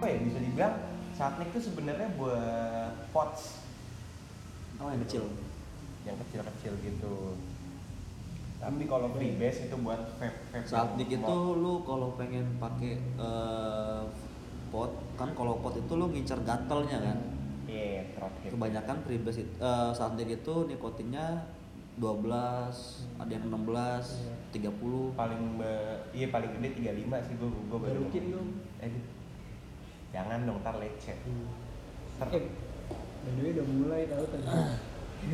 apa ya bisa dibilang Satnik tuh sebenarnya buat pots Oh yang kecil. yang kecil-kecil gitu. Tapi Iya. kalau freebase itu buat vape vape. Saat dikit Mau- tuh lu kalau pengen pakai eh, pot kan kalau pot itu lu ngincer gatelnya kan. Iya, throat hip. Kebanyakan freebase itu, eh, saat dikit tuh nikotinnya 12, ada yang 16, 30. paling be- iya paling gede 35 sih gua gua baru. Garukin dong. Eh, jangan dong tar lecet. Ntar Eh, by the way udah mulai tau tadi.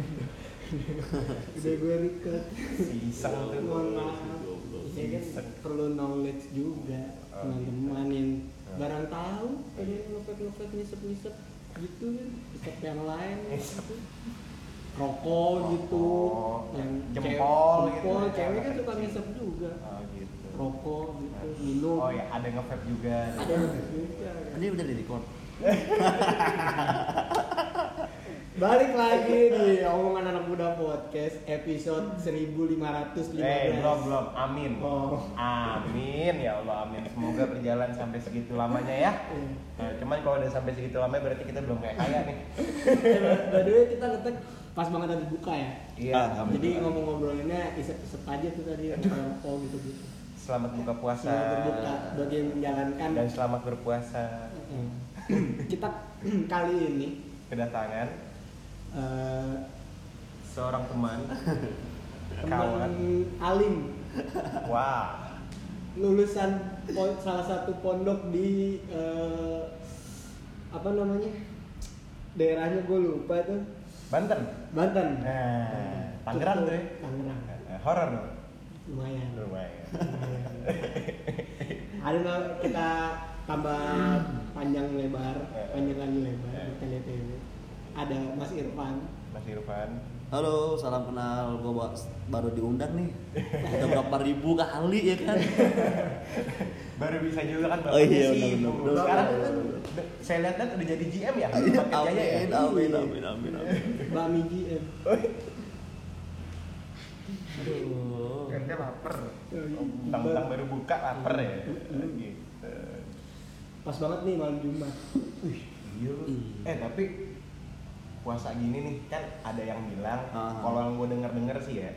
udah gue record. si iseng tuh. Mohon maaf. Si Ya kan iseng. perlu knowledge juga Oh, teman-teman yang Oh. barang tahu pengen ngepet ngepet ngisep ngisep gitu kan ngisep yang lain Ngisep. gitu. rokok gitu Rokok, yang jempol cewek, gitu. jempol, cewek kan suka ngisep juga Oh gitu. rokok gitu minum Oh ya, ada nge-vape juga. ada yang juga kan. Ini udah di record. balik lagi di omongan anak muda podcast episode 1515 Eh, belum belum. Amin. Oh. Amin ya Allah, amin. Semoga berjalan sampai segitu lamanya ya. Iya. Nah, cuman kalau udah sampai segitu lamanya berarti kita belum kayak kaya nih. Eh, by the way kita ngetek pas banget tadi buka ya Iya. Jadi ngomong-ngobrolinnya isep-isep aja tuh tadi gitu, rokok gitu-gitu. selamat buka puasa. Selamat berbuka bagi yang menjalankan. Dan selamat berpuasa. Mm. Kita kali ini Kedatangan eh, seorang teman. teman Kawan. alim Wah. lulusan po- salah satu pondok di eh, apa namanya daerahnya gue lupa tuh Banten. Banten. Nah, Tangerang tuh ya. Tangerang Eh, Horor dong. lumayan. Lumayan. Ada nggak kita tambah panjang lebar, panjang lagi lebar Eh. di TNTW. Ada Mas Irfan. Mas Irfan. Halo, salam kenal. Gua ba- baru diundang nih. Udah berapa ribu kali ya kan? baru bisa juga kan Oh iya, sih. benar, benar, Iya, benar. sekarang kan saya lihat kan udah jadi GM ya Paket Jaya ya Amin, amin, amin, amin, amin. Bami GM. Aduh. Anda lapar tentang baru buka lapar ya gitu Pas banget nih malam Jumat. iya lu. eh tapi puasa gini nih kan ada yang bilang Ah. kalau yang gue denger denger sih ya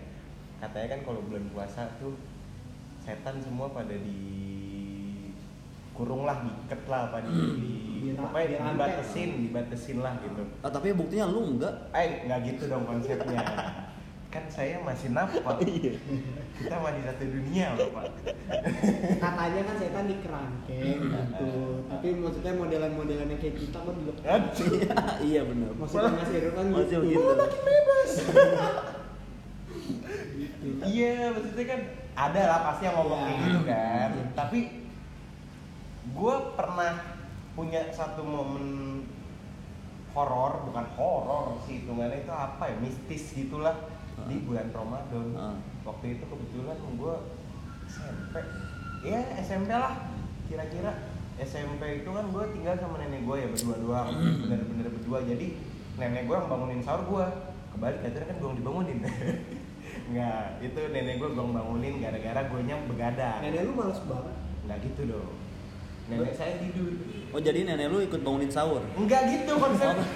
katanya kan kalau bulan puasa tuh setan semua pada di kurung lah diikat lah pada di, Iya, di Dira- pokoknya dirantai. dibatesin dibatesin lah gitu Ah, tapi buktinya lu enggak. Eh, nggak gitu dong konsepnya. kan saya masih nafas. Kita masih satu dunia loh, Pak. Katanya kan setan Eh. di kerangkeng gitu. Tapi maksudnya modelan-modelan yang kayak kita kan juga. Aduh. iya benar. Maksudnya Mas Irfan Masih gitu. begitu. Gitu. Iya, maksudnya kan ada lah pasti yang ngomong kayak gitu kan. Tapi gue pernah punya satu momen horor, bukan horor sih hitungannya itu apa ya, mistis gitulah di bulan Ramadan. Ah. Waktu itu kebetulan gue SMP, ya SMP lah kira-kira SMP itu kan gue tinggal sama nenek gue ya berdua doang, bener-bener berdua. Jadi nenek gue yang bangunin sahur gue, kebalik akhirnya kan gue yang dibangunin. Enggak, itu nenek gue gue yang bangunin gara-gara gue nyam begadang. Nenek lu males banget. Nggak gitu dong. Nenek saya tidur. Oh, jadi nenek lu ikut bangunin sahur. Enggak gitu konsepnya.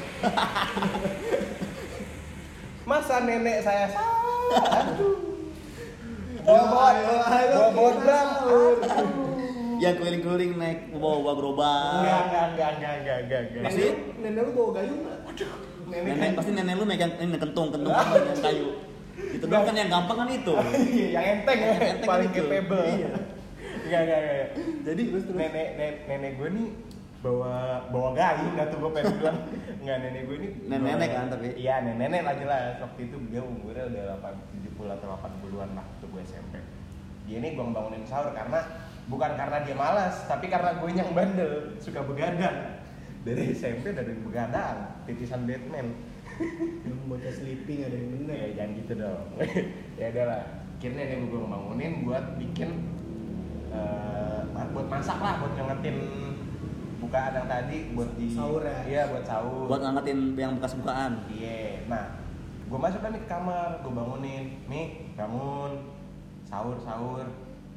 Masa nenek saya salah? Aduh. Bawa bawa bawa bawa drum. Ya keliling-keliling naik bawa gerobak. Enggak enggak enggak enggak enggak enggak. enggak. Pasti- Nenek, lu- nenek lu bawa gayung nggak? Nenek pasti nenek lu megang ini kentung, kentung Ah. apa yang kayu. Itu dong kan yang gampang kan itu. Iya, yang enteng ya, Yang enteng paling gitu. capable. Iya. Enggak enggak enggak. Jadi terus terus. Nenek nenek, nenek gue nih bawa bawa gayung dah tuh gue pengen bilang nggak nenek gue ini Nenek-nenek kan, tapi? iya nenek nenek lah jelas waktu itu dia umurnya udah 8, 70 atau 80 an lah waktu gue SMP dia ini gue bangunin sahur karena bukan karena dia malas tapi karena gue yang bandel suka begadang dari SMP dari begadang titisan Batman Yang bocah sleeping ada yang bener. Ya jangan gitu dong. ya udah lah. Akhirnya dia gue bangunin buat bikin eh, ma- buat masak lah, buat nyengetin bukaan yang tadi buat di Sahur ya? Iya, buat sahur. Buat ngangkatin yang bekas bukaan. Iya. Nah, gue masuk kan ke kamar, gue bangunin. Mi, bangun. Sahur, sahur.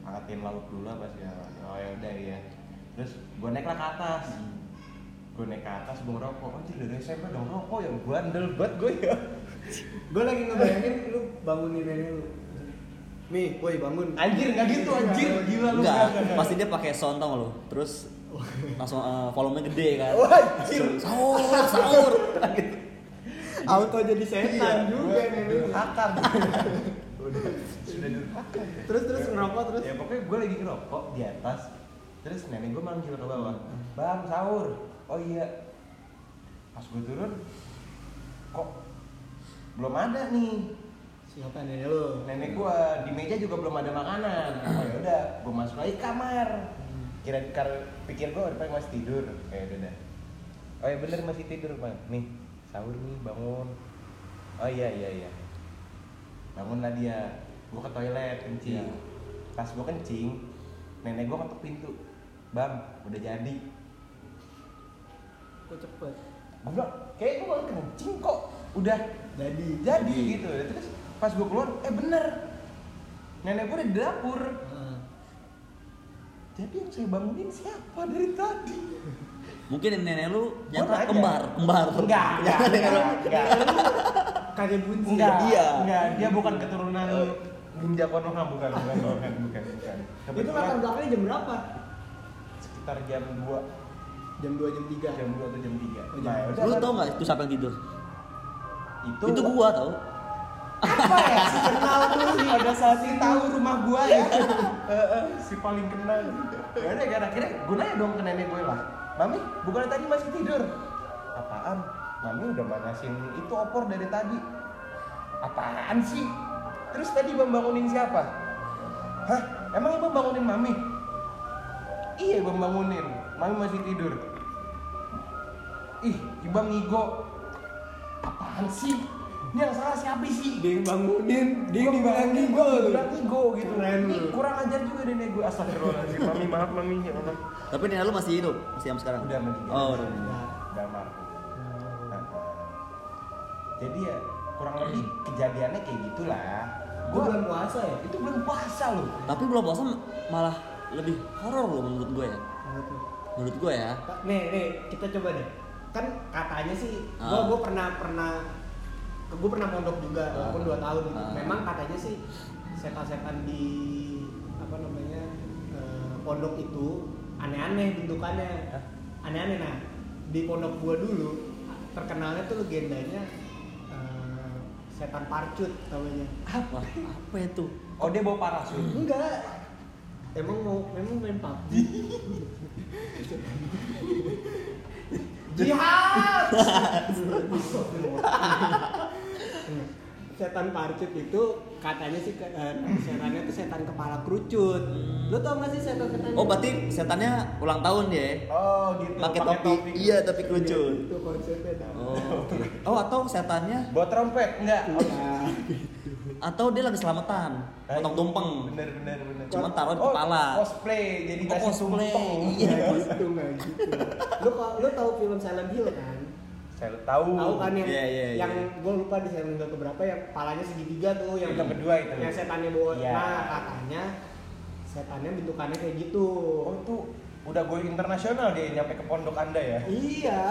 Angkatin lauk dulu apa sih? Oh ya udah ya. Terus gue iya. naiklah ke atas. gue naik ke atas gue ngerokok anjir dari SMP udah ngerokok yang bandel banget gue ya Gue lagi ngebayangin lu bangunin nenek lu. Nih, woi bangun. anjir nggak gitu anjir gila lu Enggak, pasti dia pakai sound tau nggak lu. Terus langsung eh, volumenya gede kan. Wajir Sahur, sahur. gitu. Auto jadi setan Iya, juga nih lu. durhaka udah sudah durhaka Terus, terus, ngerokok, terus. ya pokoknya gue lagi ngerokok di atas terus nenek gue manggil ke bawah bang sahur oh iya pas gue turun kok belum ada nih Siapa nenek lu? nenek gue di meja juga belum ada makanan oh ya udah gue masuk lagi kamar kira kira pikir gue depan masih tidur ya udah dah. oh ya bener masih tidur bang nih sahur nih bangun oh iya iya iya bangunlah dia gue ke toilet kencing Iya. pas gue kencing nenek gue ketuk pintu bang udah jadi Kok cepet? gue bilang kayak gue kencing kok udah Jadi. jadi gitu terus pas gue keluar eh bener nenek gue udah di dapur Ah. jadi yang saya bangunin siapa dari tadi Mungkin nenek lu Gua nyata nanya. kembar, kembar. enggak enggak Jangan nenek lu. enggak enggak Kakek bunsi. enggak Iya. enggak dia bukan keturunan Ginja Eh, Konoha bukan bukan bukan bukan bukan Itu kebetulan latar belakangnya jam berapa? sekitar jam 2 Jam 2 jam 3. jam 2 atau jam Nah, 3 Oh, jam dua. Lu tau nggak itu siapa yang tidur? itu Itu, gua tau. apa ya si kenal tuh Ada saat si itu. tahu rumah gua ya Eh, eh, si paling kenal ya udah gara akhirnya gue nanya dong ke nenek gue lah mami bukan tadi masih tidur apaan mami udah manasin itu opor dari tadi apaan sih terus tadi bang bangunin siapa hah emang bang bangunin mami iya bang bangunin mami masih tidur ih ibang ngigo apaan sih ini yang salah siapa sih Dia yang bangunin, dia yang dibilang gue gigo lu. bilang ego gitu Keren Ini lu. kurang ajar juga nenek gue astagfirullahaladzim mami maaf mami ya Allah Tapi nenek lu masih hidup, masih sama sekarang. udah meninggal Oh, udah. meninggal. udah almarhum. Nah, jadi ya kurang lebih kejadiannya kayak gitulah Gua gue bulan puasa ya. itu belum puasa loh Tapi belum puasa malah lebih horor loh menurut gue ya. Menurut lu? Menurut gue ya. Nih, nih, kita coba deh. Kan katanya sih, gua Ah. gua pernah pernah gua pernah pondok juga Ah. walaupun 2 tahun gitu. Ah. Memang katanya sih setan-setan di apa namanya? eh, pondok itu aneh-aneh bentukannya. Hah? Aneh-aneh nah. Di pondok gua dulu terkenalnya tuh legendanya eh, setan parcut namanya. Apa? Apa itu? oh dia bawa parasut Hmm. Enggak. Emang mau emang main PUBG. Jihad. setan parcut itu katanya sih ke- eh, setannya tuh setan kepala kerucut. Lo tau gak sih Iya, setan-setan? Oh, berarti setannya ulang tahun dia. ya? oh gitu Pakai topi. Iya, topi kerucut. Itu konsepnya tau. Oh, oke. Oh, atau setannya bawa trompet enggak Hmm. Nah, atau dia lagi selamatan, potong tumpeng. bener bener bener Cuma taruh di Oh, kepala. cosplay jadi Oh, nasi cosplay. tumpeng Iya. nggak gitu nggak gitu. Lo lo tau film Silent Hill kan? saya tahu tahu kan yang Iya, iya, yang iya. gue lupa di season ke berapa yang palanya segitiga tuh yang Yang kedua itu. yang setannya bawa Iya. nah katanya setannya bentukannya kayak gitu oh tuh udah gue internasional dia nyampe ke pondok anda ya iya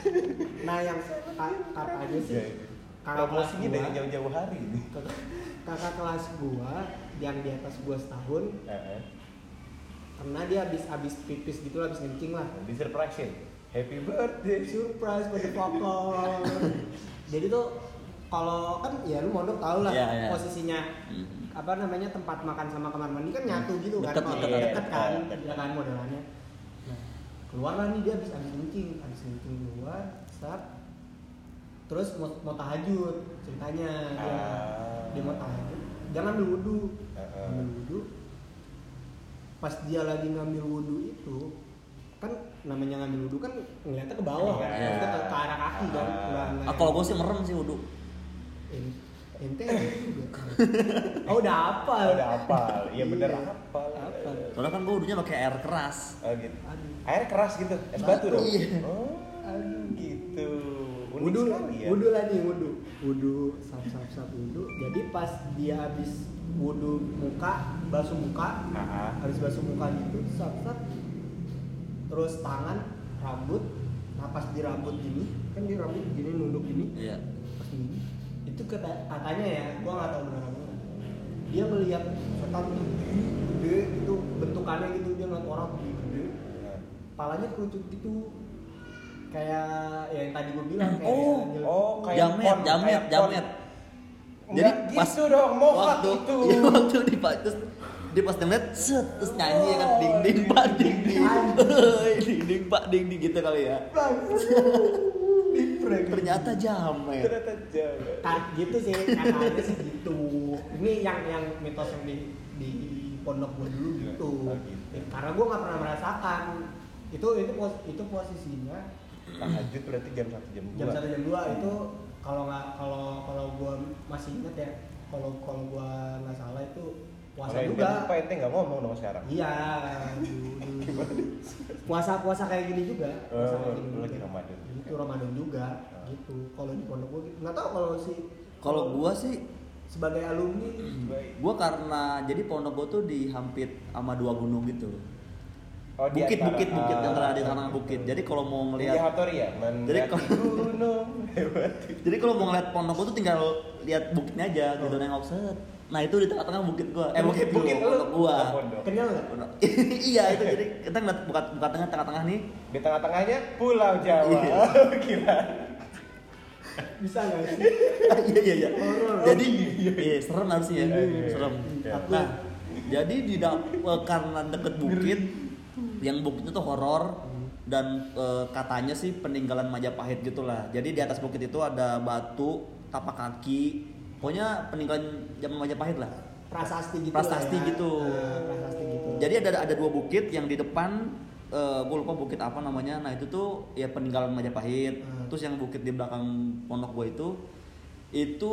nah yang ka- katanya sih Iya, iya. kakak kelas Promosinya gua dari jauh-jauh hari ini. kakak kelas gua yang di atas gua setahun Heeh. karena dia habis habis pipis gitu lah, habis kencing lah Disurpresin. Happy birthday. surprise motherfucker jadi tuh kalau kan ya lu mondok tau lah Iya, iya. posisinya Mhm. apa namanya tempat makan sama kamar mandi kan nyatu gitu kan Deket, kalau deket, deket. kan Deket. ya kan modelannya nah keluarlah nih dia habis habis kencing habis kencing keluar start terus mau, mau tahajud ceritanya dia Ah. dia mau tahajud jangan ambil wudhu Heeh. ambil wudhu pas dia lagi ngambil wudhu itu kan namanya ngambil wudhu kan ngeliatnya ke bawah kan Iya. Maksudnya ke, ke arah kaki Ah. kan nggak- nggak Ah, yang- kalau gue sih merem sih wudhu. En- ente juga oh udah apa Udah hafal. Iya bener Iya. hafal. Hafal. Soalnya kan gue wudhunya pakai air keras. Oh gitu. Aduh. Air keras gitu. Es batu dong. Iya. Oh, Aduh. gitu. Unik Wudu, sekali ya. wudu lagi wudu, wudu, sap sap sap wudu. Jadi pas dia habis wudu muka, basuh muka, Ah, ah. habis basuh muka gitu, sap sap, terus tangan, rambut napas di rambut ini kan di rambut gini nunduk ini Iya. pas ini itu kata katanya ya gua nggak tahu benar apa enggak. dia melihat setan tuh gede itu bentukannya gitu dia ngeliat orang tuh gede palanya kerucut gitu kayak ya yang tadi gua bilang kayak Oh, yang- oh, kayak Jamet, pon, jamet, kayak pon. jamet. Jadi gitu dong, mohak waktu, itu. Iya, waktu di Pak terus dia pas ngeliat set terus nyanyi ya kan Oh, ding ding iya. pak ding ding Hei, ding ding pak ding ding gitu kali ya. Di prank. Ternyata jamet. ternyata jamet. Ta- gitu sih katanya sih gitu ini yang yang mitos yang di di pondok gue dulu gitu Oh, gitu. Ya, karena gue nggak pernah merasakan itu itu pos- itu posisinya Tahajud berarti jam 1 jam 2. jam satu jam dua itu kalau nggak kalau kalau gue masih ingat ya kalau kalau gue nggak salah itu puasa juga Apa ente nggak ngomong dong sekarang? iya du- du- puasa puasa kayak gini juga puasa Oh, kayak gini lu juga. lagi Ramadan. itu Ramadan juga Oh. gitu kalau di pondok gue gitu. nggak tahu kalau si Kalau gua sih sebagai alumni Baik. gua karena jadi pondok gua tuh dihampit sama dua gunung gitu. Oh, di Bukit antara- bukit bukit ah, yang ada di tanah gitu. bukit. Jadi kalau mau Jadi ngelihat Hattori ya, Jadi mendaki kalau- gunung lewati. jadi kalau mau ngeliat pondok gua tuh tinggal lihat bukitnya aja gitu Oh. nengok set. Nah itu di tengah-tengah bukit gua. Eh bukit, Bukit lu. gua, pondok gua. Oh, pondok. kenyal nggak iya itu jadi kita ngeliat buka buka tengah tengah-tengah nih Di tengah-tengahnya Pulau Jawa. Iya. Gila. bisa nggak sih iya iya iya Horor. jadi iya serem harusnya Iya, iya, iya. serem Iya. nah jadi di dap- eh, karena deket bukit yang bukitnya tuh horor dan eh, katanya sih peninggalan Majapahit gitulah jadi di atas bukit itu ada batu tapak kaki pokoknya peninggalan zaman Majapahit lah prasasti gitu Prasasti lah ya. gitu. Ah, prasasti gitu jadi ada ada dua bukit yang di depan eh gue lupa bukit apa namanya nah itu tuh ya peninggalan Majapahit Hmm. terus yang bukit di belakang pondok gue itu itu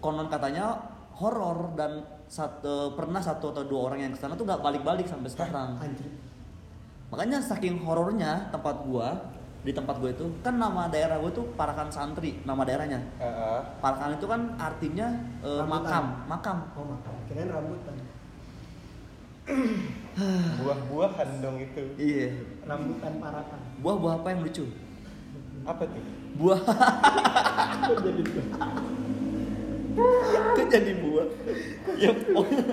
konon katanya horor dan satu pernah satu atau dua orang yang kesana tuh nggak balik-balik sampai sekarang anjir makanya saking horornya tempat gua di tempat gue itu kan nama daerah gue tuh Parakan Santri nama daerahnya Heeh. Parakan itu kan artinya eh, Rambutan. makam makam oh makan kirain rambutan Buah-buahan dong itu. iya rambutan parakan buah-buah apa yang lucu Apa tuh? buah Kok jadi tuh? kan jadi buah ya pokoknya,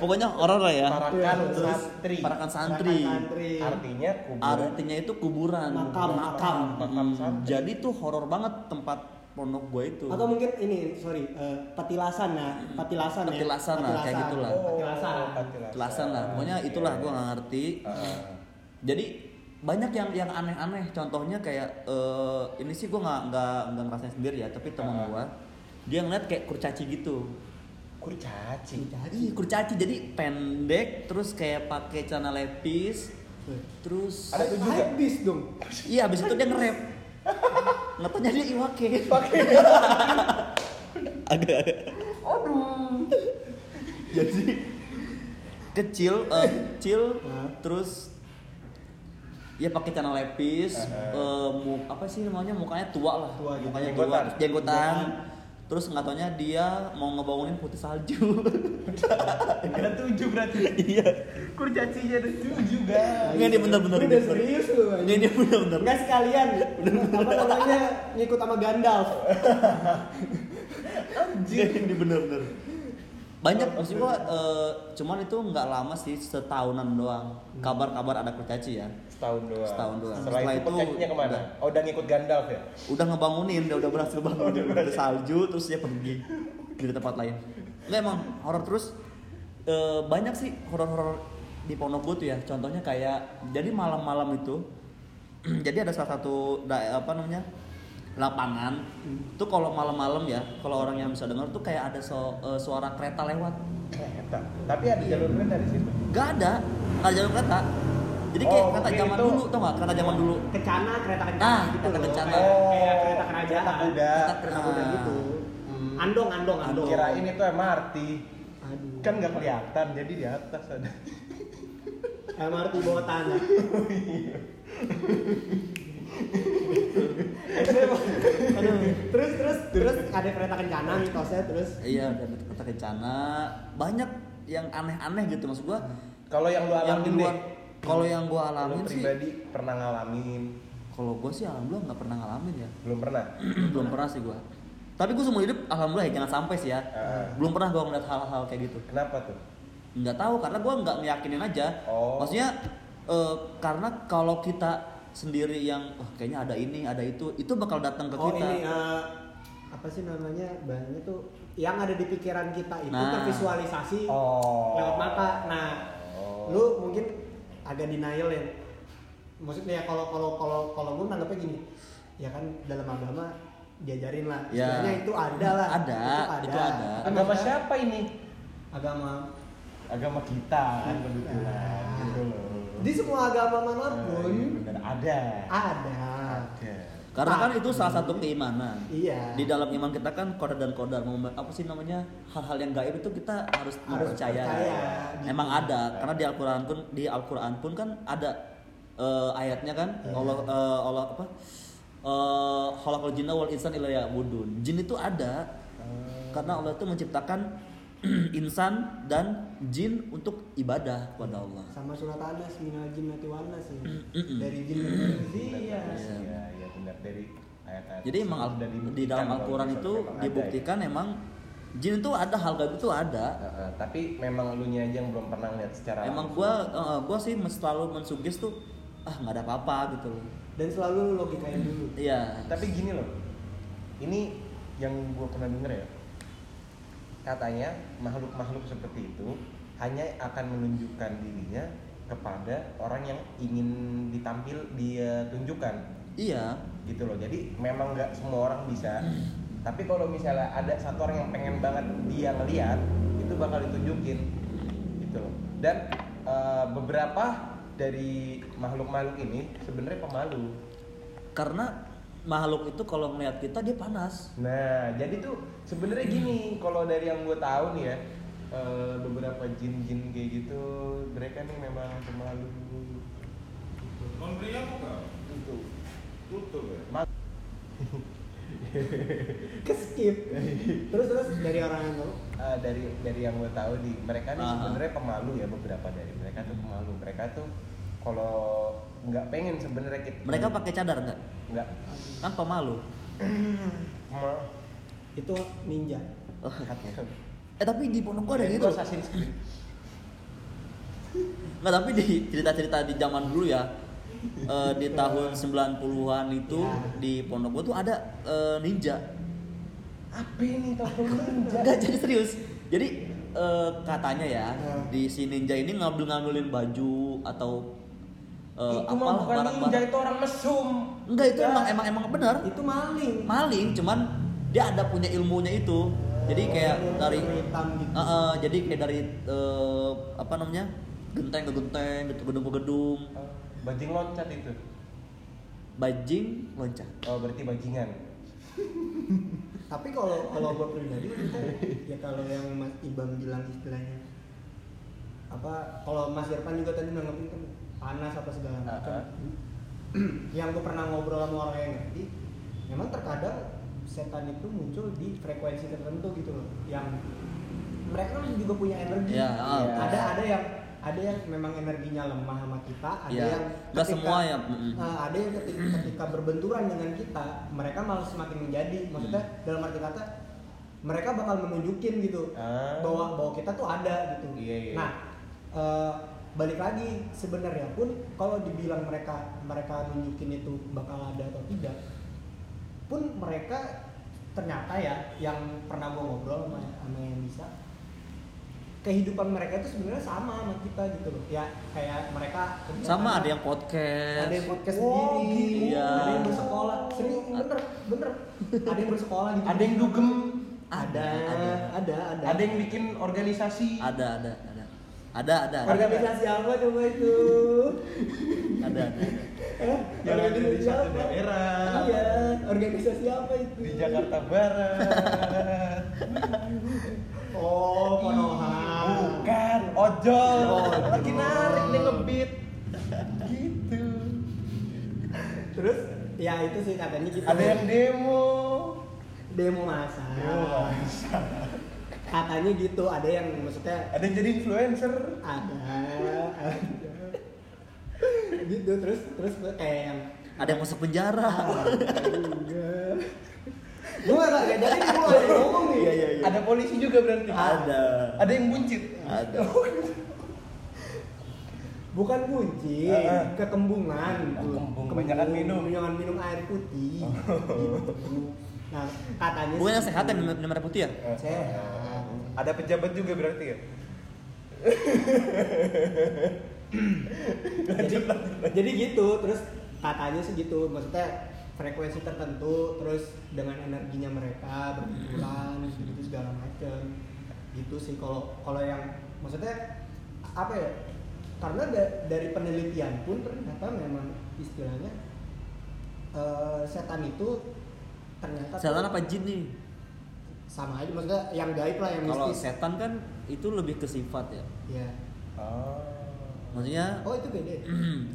pokoknya horor lah ya Parakan Iya, terus santri. parakan santri Parakan santri. Artinya kuburan. artinya itu kuburan Hmm. Makam, makam. Makam santri. jadi tuh horor banget tempat pondok gua itu atau mungkin ini sorry eh, petilasan ya petilasan ya Petilasan lah, kayak gitulah. Oh, petilasan Oh. patilasan. jelasan lah pokoknya itulah gua nggak ngerti Iya. Heeh. jadi banyak yang yang aneh-aneh contohnya kayak eh, ini sih gua nggak nggak nggak ngerasain sendiri ya tapi Ah. teman gua dia ngeliat kayak kurcaci gitu Kurcaci. Ih, kurcaci jadi pendek terus kayak pakai celana lepis terus Ada tujuh nggak? habis dong Iya, abis itu dia nge-rap. Ngetanya dia Iwake. Pakai. Ada. Jadi kecil, eh, kecil, Hah? terus ya pakai celana lepis, Eh, eh. eh, mu- apa sih namanya mukanya tua lah, Tua gitu. mukanya tua, Jenggotan. terus jenggotan. Jenggotan. Terus nggak taunya dia mau ngebangunin putih salju. Nah, Ada tujuh berarti. iya. Kurcacinya ada tujuh guys. Nggak, ini bener-bener, Lu ini iya. udah bener. serius lu Ini ini bener-bener. Enggak sekalian apa namanya ngikut sama Gandalf Anjir Iya, ini bener-bener banyak maksud gua eh, cuman itu nggak lama sih setahunan doang kabar-kabar ada kurcaci ya Setahun doang. Setahun doang. Setelah, Setelah itu itu kurcacinya kemana? udah. Oh, udah ngikut Gandalf ya? udah ngebangunin dia udah berhasil bangun Udah udah berhasil. salju terus dia pergi di tempat lain nggak emang horor terus eh, banyak sih horor-horor di pondok gua tuh ya contohnya kayak jadi malam-malam itu jadi ada salah satu da- apa namanya lapangan tuh kalau malam-malam ya kalau orang yang bisa dengar tuh kayak ada so- eh, suara kereta lewat Kereta. Tapi ada jalur kereta di situ. Gak ada, nggak ada jalur kereta. Jadi kayak Oh, kereta mungkin zaman itu- iya. dulu, tau nggak? Kereta zaman dulu. kecana kereta kencana Nah, gitu kereta loh. kencana. Kayak- Oh, kayak kereta kerajaan kereta kuda. kereta kuda gitu Hmm. andong andong andong Kirain itu MRT. Aduh. Kan nggak kelihatan, jadi di atas ada. MRT bawah tanah. Aduh. terus terus terus ada kereta kencana mitosnya terus Iya, ada kereta kencana. Banyak yang aneh-aneh gitu maksud gua. Kalau yang lu yang di alamin luar deh. Kalau yang gua Kalau alamin sih, pribadi pernah ngalamin kalau gua sih alhamdulillah nggak pernah ngalamin ya. belum pernah belum pernah sih gua. Tapi gua seumur hidup alhamdulillah ya, jangan sampai sih ya. Heeh. Belum pernah gua ngeliat hal-hal kayak gitu. kenapa tuh nggak tahu karena gue nggak meyakinin aja Oh. maksudnya eh, karena kalau kita sendiri yang wah kayaknya ada ini ada itu itu bakal datang ke oh kita ini ah. eh, apa sih namanya bahannya tuh yang ada di pikiran kita itu Nah. tervisualisasi oh lewat mata. Nah, Oh. lu mungkin agak denial ya. Maksudnya ya kalau kalau kalau kalau gue nanggapnya gini, ya kan dalam agama diajarin lah. Ya. Istilahnya itu ada lah. Ada, itu ada. agama maksudnya siapa ini Agama. agama kita kan kebetulan Nah. gitu loh Di semua agama Nah, manapun iya bener. ada ada. ada karena kan Nah, Tapi- itu salah satu keimanan Iya. di dalam iman kita kan kodar dan kodar mem- apa sih namanya hal-hal yang gaib itu kita harus, mempercaya percaya, gitu. emang ada karena di Al-Qur'an pun di Al-Qur'an pun kan ada eh, ayatnya kan Iya. Allah eh, Allah apa Eh, khalaqal jinna wal insan illa ya'budun. Jin itu ada. Karena Allah itu menciptakan insan dan jin untuk ibadah kepada Allah. sama surat Anas minal jinnati wan nas ya. Mm-mm. dari jin dan manusia. Iya, Iya. iya, iya benar dari ayat-ayat. Jadi emang Al- Dan di dalam kalau Al-Qur'an misalnya itu memang ada ya. dibuktikan emang jin itu ada, hal gaib itu ada. Heeh, tapi memang lu nya aja yang belum pernah lihat secara langsung. Emang gua eh, gua sih selalu mensugis tuh ah nggak ada apa-apa gitu loh. dan selalu lu logikain dulu Iya. Tapi gini loh. Ini yang gua pernah denger ya. Katanya makhluk-makhluk seperti itu hanya akan menunjukkan dirinya kepada orang yang ingin ditampil dia tunjukkan. Iya. gitu loh jadi memang nggak semua orang bisa tapi kalau misalnya ada satu orang yang pengen banget dia ngeliat itu bakal ditunjukin gitu loh dan eh, beberapa dari makhluk-makhluk ini sebenarnya pemalu Karena makhluk itu kalau melihat kita dia panas. nah jadi tuh sebenarnya gini kalau dari yang gue tahu nih ya eh, beberapa jin-jin kayak gitu mereka nih memang pemalu Non brillant bukan? gitu Tutup ya? ke skip terus terus dari orang yang tahu Eh, dari dari yang gue tahu di mereka nih Aha. sebenarnya pemalu ya beberapa dari mereka Hmm. tuh pemalu mereka tuh kalau nggak pengen sebenarnya kita Mereka pakai cadar nggak? nggak Kan pemalu. mau itu ninja Oh, kan. Eh tapi di pondok gua ada gitu. Assassin's Creed Nggak tapi di cerita-cerita di zaman dulu ya. eh, di tahun 90-an itu Ya. di pondok gua tuh ada eh, ninja. apa ini toko ninja Enggak jadi serius. Jadi eh, katanya ya, Ya. di si ninja ini ngambil-ngambilin baju atau eh, itu mah apalah bukan ninja barang-barang. itu orang mesum Ya. Enggak Ya. itu emang emang emang benar. itu maling Maling cuman dia ada punya ilmunya itu. Jadi kayak Yang dari hitam gitu Uh, uh, jadi kayak dari uh, apa namanya genteng ke genteng, gitu, gedung ke gedung, Eh, bajing loncat itu bajing loncat. oh berarti bajingan tapi kalau kalau gue pribadi itu ya kalau yang Mas Ibam bilang istilahnya apa kalau Mas Irfan juga tadi nanggepin kan panas apa segala macam Ah, ah. yang gue pernah ngobrol sama orang yang ngerti memang terkadang setan itu muncul di frekuensi tertentu gitu loh yang mereka kan juga punya energi Ya, ah, betul. ada ada yang ada yang memang energinya lemah sama kita ada Ya, yang nggak ketika- semua ya, mm-mm. eh, ada yang ketika, ketika berbenturan dengan kita mereka malah semakin menjadi maksudnya Mm. dalam arti kata mereka bakal menunjukin gitu Ah. bahwa bahwa kita tuh ada gitu Iya, iya. nah eh, balik lagi sebenarnya pun kalau dibilang mereka mereka nunjukin itu bakal ada atau tidak pun mereka ternyata ya yang pernah gue ngobrol sama, sama yang bisa kehidupan mereka itu sebenarnya sama sama kita gitu loh ya kayak mereka kegiatan- Sama ada yang podcast. ada yang podcast Wow, sendiri gitu. Iya. ada yang bersekolah serius bener bener ada yang bersekolah gitu ada yang dugem ada Ada, ada ada ada yang bikin organisasi ada ada ada ada ada ada organisasi apa coba itu ada. ada. Eh, yang ada di organisasi satu apa? daerah iya organisasi apa itu di Jakarta Barat oh Konoha Bukan, ojol. Ojol. Lagi narik dia ngebeat. Gitu. terus ya itu sih katanya gitu Ada yang demo. demo masa katanya gitu ada yang maksudnya Ada yang jadi influencer. ada ada gitu terus terus gue kayak yang ada yang masuk penjara Iya. gue gak gak jadi gue gak jadi ngomong nih Iya, iya, iya. Ada polisi juga berarti. ada Ada yang buncit. ada bukan kunci Ah, ah. kekembungan tuh. kembung, kebanyakan minum. kebanyakan minum air putih gitu. nah katanya bukan yang sih- sehat yang minum minum air putih ya Sehat. Ada pejabat juga berarti ya? jadi, jadi gitu terus katanya sih gitu maksudnya frekuensi tertentu terus dengan energinya mereka berkumpulan Hmm. gitu segala macam gitu sih kalau kalau yang maksudnya apa ya karena da- dari penelitian pun ternyata memang istilahnya eh, setan itu ternyata setan apa jin nih sama aja maksudnya yang gaib lah yang kalau mistis setan kan itu lebih ke sifat ya ya Oh. maksudnya oh itu beda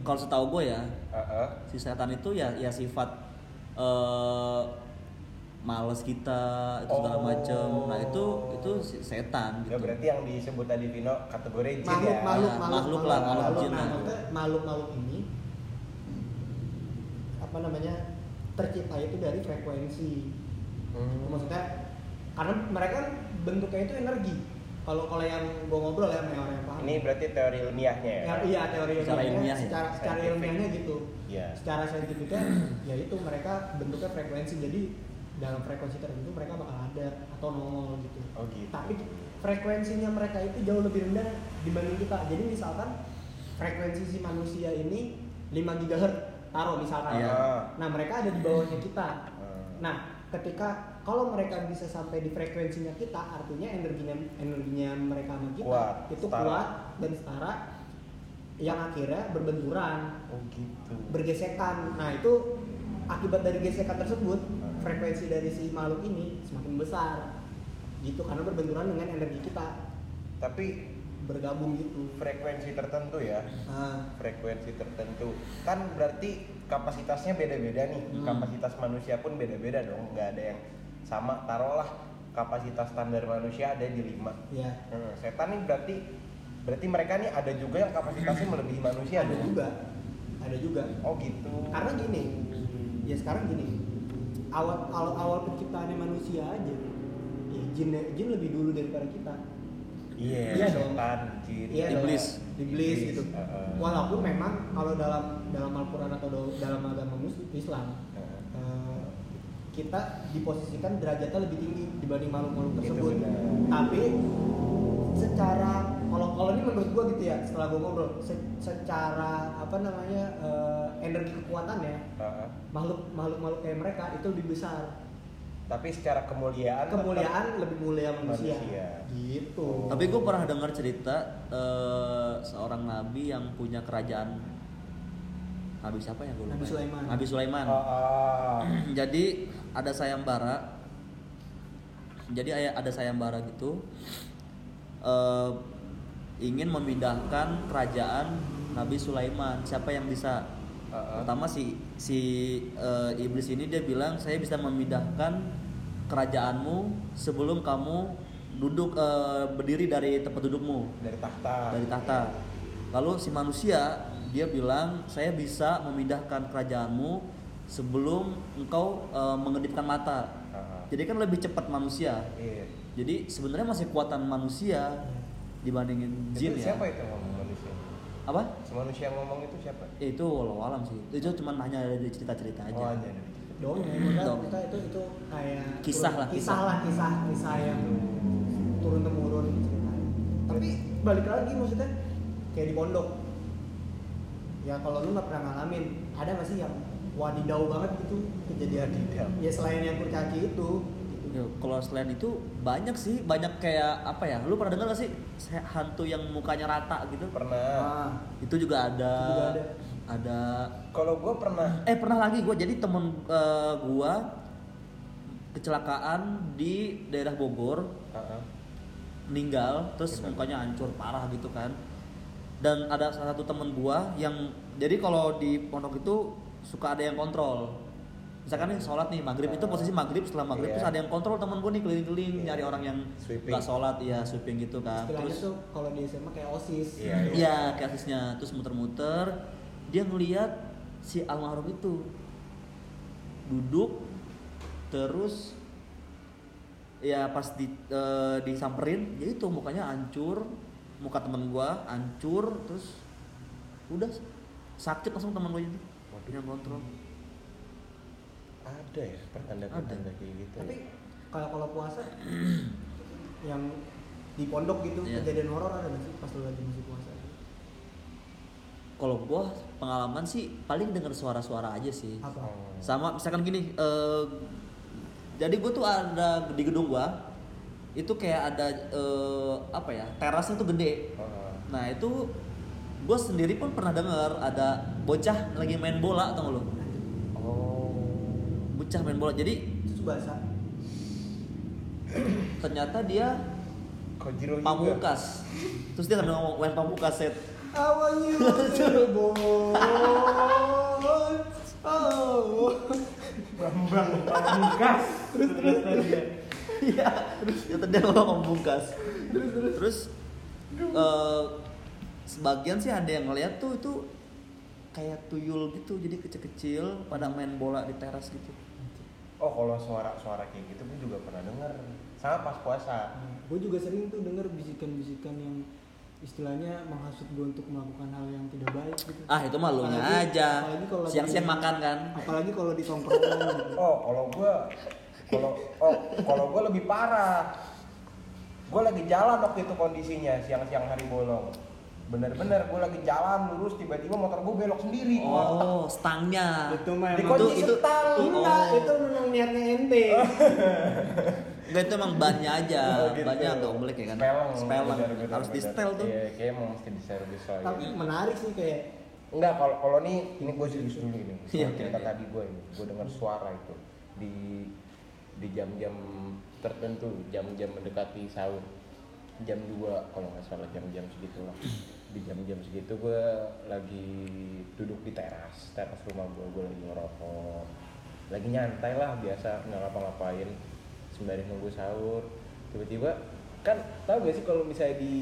kalau setahu gue ya Heeh. si setan itu ya ya sifat eh males kita itu segala Oh. macem nah itu itu si- setan Ya gitu berarti yang disebut tadi Vino kategori jin ya. Nah, makhluk makhluk makhluk makhluk lah, makhluk jin nah, lah. maksudnya makhluk makhluk ini apa namanya tercipta itu dari frekuensi Hmm. maksudnya karena mereka kan bentuknya itu energi kalau kalau yang gue ngobrol ya sama orang yang paham Ini berarti teori ilmiahnya ya. Ya, iya teori Secara ilmiahnya, ilmiah ya? secara, secara Scientific. ilmiahnya gitu Iya. secara saintifiknya ya itu mereka bentuknya frekuensi jadi dalam frekuensi tertentu mereka bakal ada atau nongol gitu Oh gitu. tapi frekuensinya mereka itu jauh lebih rendah dibanding kita jadi misalkan frekuensi si manusia ini 5 GHz taruh misalkan Iya. Ah. nah mereka ada di bawahnya kita Hmm. nah ketika kalau mereka bisa sampai di frekuensinya kita artinya energinya energinya mereka sama kita Kuat, itu setara. kuat dan setara yang akhirnya berbenturan Oh gitu. bergesekan nah itu akibat dari gesekan tersebut Hmm. frekuensi dari si makhluk ini semakin besar gitu karena berbenturan dengan energi kita Tapi bergabung gitu frekuensi tertentu ya. nah, Frekuensi tertentu. Kan berarti kapasitasnya beda-beda nih. Hmm. Kapasitas manusia pun beda-beda dong. Nggak ada yang sama. Taruhlah kapasitas standar manusia ada di 5. ya Hmm, setan nih berarti berarti mereka nih ada juga yang kapasitasnya melebihi manusia ada dong. juga ada juga Oh gitu. karena gini ya sekarang gini awal awal awal penciptaannya manusia aja ya jin jin lebih dulu daripada kita Iya, Iya dong. setan, jin. Iya dong. Iblis. iblis Gitu. Iblis, gitu heeh. walaupun memang kalau dalam dalam Al-Quran atau dal- dalam agama Muslim Islam Heeh. eh, kita diposisikan derajatnya lebih tinggi dibanding Gitu, makhluk-makhluk Itu tersebut benar. tapi secara kalau kalau ini menurut gua gitu ya setelah gua ngobrol se- secara apa namanya eh, energi kekuatannya Heeh. makhluk makhluk makhluk kayak mereka itu lebih besar Tapi secara kemuliaan tetap- kemuliaan lebih mulia manusia, Manusia. gitu tapi gue pernah dengar cerita eh, seorang nabi yang punya kerajaan nabi siapa ya gue lupa Nabi Sulaiman. nabi Sulaiman Oh. Heeh. jadi ada sayembara jadi aya- ada sayembara gitu eh, ingin memindahkan kerajaan Nabi Sulaiman siapa yang bisa Heeh. pertama si si eh, iblis ini dia bilang saya bisa memindahkan kerajaanmu sebelum kamu duduk eh, berdiri dari tempat dudukmu dari tahta. dari tahta. Lalu si manusia dia bilang saya bisa memindahkan kerajaanmu sebelum engkau eh, mengedipkan mata. Heeh. Jadi kan lebih cepat manusia. Iya. Jadi sebenarnya masih kuatan manusia dibandingin jin itu ya. siapa itu yang ngomong manusia? Apa? Si manusia yang ngomong itu siapa? Ya, itu walau alam sih. Itu cuma hanya dari cerita-cerita aja. Oh, aja. dari- dong ya Dong. kita itu itu kayak Kisah lah, kisah kisah. lah kisah kisah yang turun temurun ceritanya tapi balik lagi maksudnya kayak di pondok ya kalau lu nggak pernah ngalamin ada nggak sih yang wadidau banget gitu kejadian Wadidau. ya selain yang kurcaci itu gitu. Ya, kalau selain itu banyak sih, banyak kayak apa ya? Lu pernah dengar gak sih se- hantu yang mukanya rata gitu? Pernah. Ah, Itu juga ada. Itu juga ada. ada Kalau gue pernah eh pernah lagi gue jadi temen eh, gua kecelakaan di daerah Bogor Heeh. meninggal terus Bener. mukanya hancur parah gitu kan dan ada salah satu temen gua yang jadi kalau di pondok itu suka ada yang kontrol misalkan nih sholat nih maghrib itu posisi maghrib setelah Ah. maghrib Iya. terus ada yang kontrol temen gua nih keliling-keliling Iya. nyari orang yang Sweeping. nggak sholat ya sweeping gitu kan istilahnya terus tuh kalau di SMA kayak osis Iya, gitu. Iya, kasusnya terus muter-muter dia ngelihat si almarhum itu duduk terus ya pas di eh, disamperin ya itu mukanya hancur muka teman gua hancur terus udah sakit langsung teman gua itu Waduh. yang kontrol Ada ya pertanda-pertanda kayak gitu. ya? tapi kalau kalau puasa yang di pondok gitu Iya. kejadian horor ada nggak sih pas lu lagi musim puasa kalau gua pengalaman sih paling dengar suara-suara aja sih apa Oh. sama misalkan gini eh, jadi gue tuh ada di gedung gua itu kayak ada eh, apa ya terasnya tuh gede Oh, nah itu gue sendiri pun pernah dengar ada bocah lagi main bola tau lo oh. bocah main bola jadi itu basah ternyata dia Kojiro juga. pamungkas terus dia sambil ngomong main pamungkas set How are you, Cirebon? Oh, Bambang Pamungkas. terus terus terus. iya ternyata dia ngomong pamungkas terus terus eh, sebagian sih ada yang ngeliat tuh itu kayak tuyul gitu jadi kecil-kecil pada main bola di teras gitu Oh, kalau suara-suara kayak gitu gue juga pernah denger. Sama pas puasa. Gue juga sering tuh denger bisikan-bisikan yang istilahnya menghasut gue untuk melakukan hal yang tidak baik gitu. ah itu mah lu Apalagi- aja apalagi kalau lagi- siang-siang makan kan Apalagi kalau di tongkrongan gitu. Oh, kalau gua kalau oh, kalau gua lebih parah. Gua lagi jalan waktu itu kondisinya siang-siang hari bolong. Bener-bener gua lagi jalan lurus tiba-tiba motor gua belok sendiri. oh stangnya Itu mah Di emang kunci itu- setang. itu- Enggak. Enggak, itu memang niatnya ente. Enggak itu emang bannya aja, Oh, gitu. bannya atau oblek ya kan? Speleng. Speleng. Bener-bener, Harus di bener. setel tuh. Iya, kayaknya emang mesti di servis soalnya. Tapi menarik sih kayak ya. Enggak, kalau kalau nih ini gue serius dulu ini. Iya, Soal oke, cerita oke. tadi gue ini, gue dengar suara itu di di jam-jam tertentu, jam-jam mendekati sahur. Jam 2 kalau nggak salah jam-jam segitu lah. Di jam-jam segitu gue lagi duduk di teras, teras rumah gue, gue lagi ngerokok. Lagi nyantai lah biasa, nggak ngapa-ngapain. Sembari nunggu sahur, tiba-tiba kan tau gak sih kalau misalnya di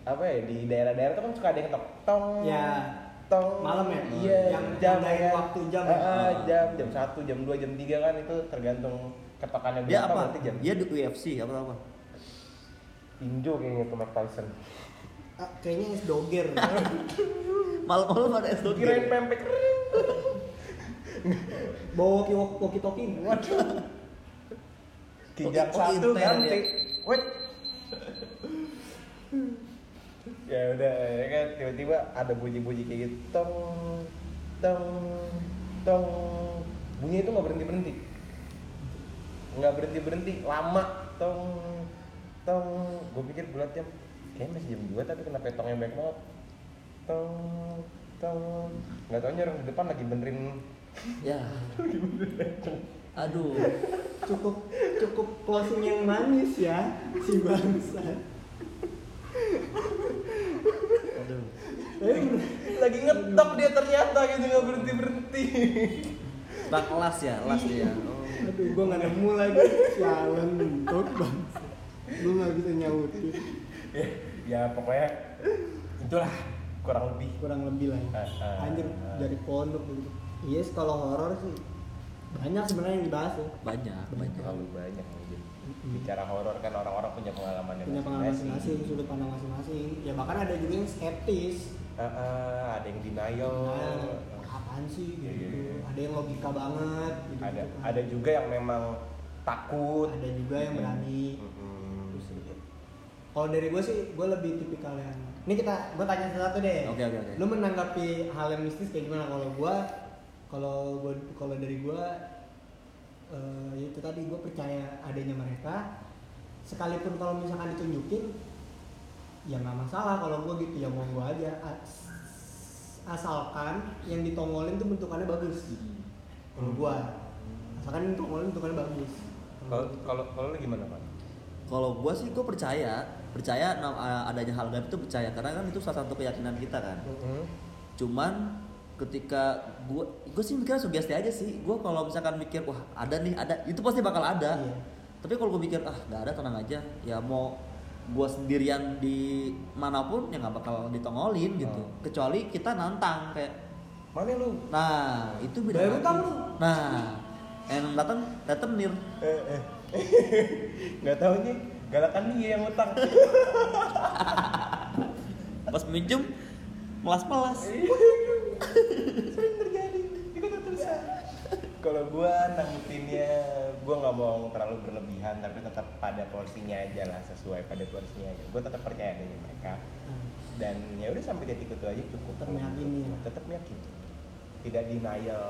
apa ya di daerah-daerah tuh kan suka ada yang tok tong Ya. tong Malam ya? iya Yang jam nandain ya. waktu jam ya? Ah, ah, jam jam satu jam dua jam tiga kan itu tergantung ketokannya Dia berapa Ya, apa? berarti jam Dia di UFC apa apa? tinju kayaknya tuh Mike Tyson ah, kayaknya es doger. Malam-malam ada es doger. kirain pempek Bawa walkie talkie. Waduh. tidak Oh, satu intel ganti ya. wait ya udah ya kan tiba-tiba ada bunyi-bunyi kayak gitu tong tong tong bunyi itu nggak berhenti berhenti nggak berhenti berhenti lama tong tong gue pikir bulat jam kayaknya masih jam 2 tapi kenapa tongnya banyak banget tong tong nggak taunya orang di depan lagi benerin Ya. Aduh. cukup cukup closing yang manis ya si bangsa Aduh. tapi bener- lagi ngetok dia ternyata gitu nggak berhenti berhenti Bak las ya, las dia. Oh. aduh gue nggak nemu lagi sialan bentuk bangsa gue nggak bisa nyautin ya, ya pokoknya itulah kurang lebih kurang lebih lah ya. Ah, ah, anjir ah. dari pondok gitu yes kalau horor sih banyak sebenarnya yang dibahas ya Banyak, banyak. terlalu banyak mungkin bicara horor kan orang-orang punya pengalaman punya pengalaman Iya masing-masing sudut pandang masing-masing ya bahkan ada juga yang skeptis Ah, ah, ada yang denial nah, apaan sih gitu, Oh. Iya, iya, iya. ada yang logika banget gitu, ada ada juga yang memang takut ada juga yang berani Mm-mm. Terus, kalau dari gue sih gue lebih tipikal yang ini kita gue tanya satu deh Oke, oke, oke. lu menanggapi hal yang mistis kayak gimana kalau gue kalau gue kalau dari gue eh, ya itu tadi gue percaya adanya mereka sekalipun kalau misalkan ditunjukin ya nggak masalah kalau gue gitu ya mau gue aja As- asalkan yang ditongolin tuh bentukannya bagus kalau gue asalkan yang ditongolin bentukannya bagus kalau kalau kalau lu gimana pak Kalau gua sih gua percaya, percaya nam- a- adanya hal gaib itu percaya karena kan itu salah satu keyakinan kita kan. cuman ketika gue gue sih mikirnya sugesti aja sih gue kalau misalkan mikir wah ada nih ada itu pasti bakal ada Iya. tapi kalau gue mikir ah nggak ada tenang aja ya mau gua sendirian di manapun ya nggak bakal ditongolin gitu Oh. kecuali kita nantang kayak mana lu nah itu beda Bayar lagi. utang lu. nah yang datang datang nir eh eh nggak tahu nih galakan dia yang utang pas minjem melas melas sering terjadi ikut terusan kalau gua nanggepinnya gua nggak mau terlalu berlebihan tapi tetap pada porsinya aja lah sesuai pada porsinya aja gua tetap percaya dengan mereka dan ya udah sampai titik itu aja cukup Tetap meyakini. tetap yakin tidak denial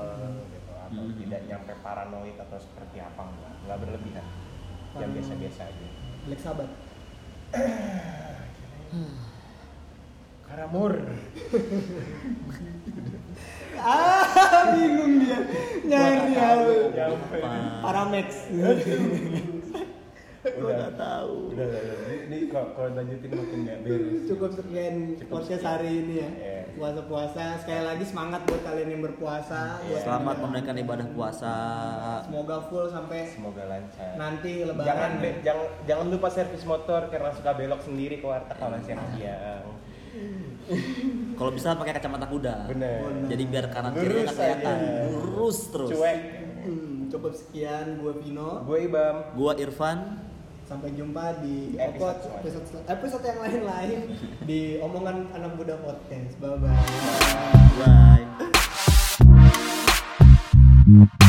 gitu atau Hmm. tidak nyampe paranoid atau seperti apa enggak nggak berlebihan yang Paranoid. biasa-biasa aja Black Sabbath. Hmm. karamur Ah, bingung dia. Nyari Gua nggak ya. tahu. Nyampe. Paramex. Gua nggak tahu. udah udah udah. ini, ini kalau kalau lanjutin makin nggak beres Cukup sekian Cukup podcast sekian. hari ini ya. Iya. Puasa-puasa. Sekali lagi semangat buat kalian yang berpuasa. Iya. Buat selamat kalian. menunaikan ibadah puasa Semoga full sampai semoga lancar nanti lebaran. jangan ya. be- jangan jangan lupa servis motor karena suka belok sendiri ke warteg kalau siang-siang kalau bisa pakai kacamata kuda bener Bener. jadi biar kanan kiri lurus nggak aja kelihatan lurus terus cuek Hmm, cukup sekian gue Vino. gue ibam gua Irfan Sampai jumpa di Di episode Okot selanjutnya. episode, episode yang lain-lain di omongan anak muda podcast. Bye bye. bye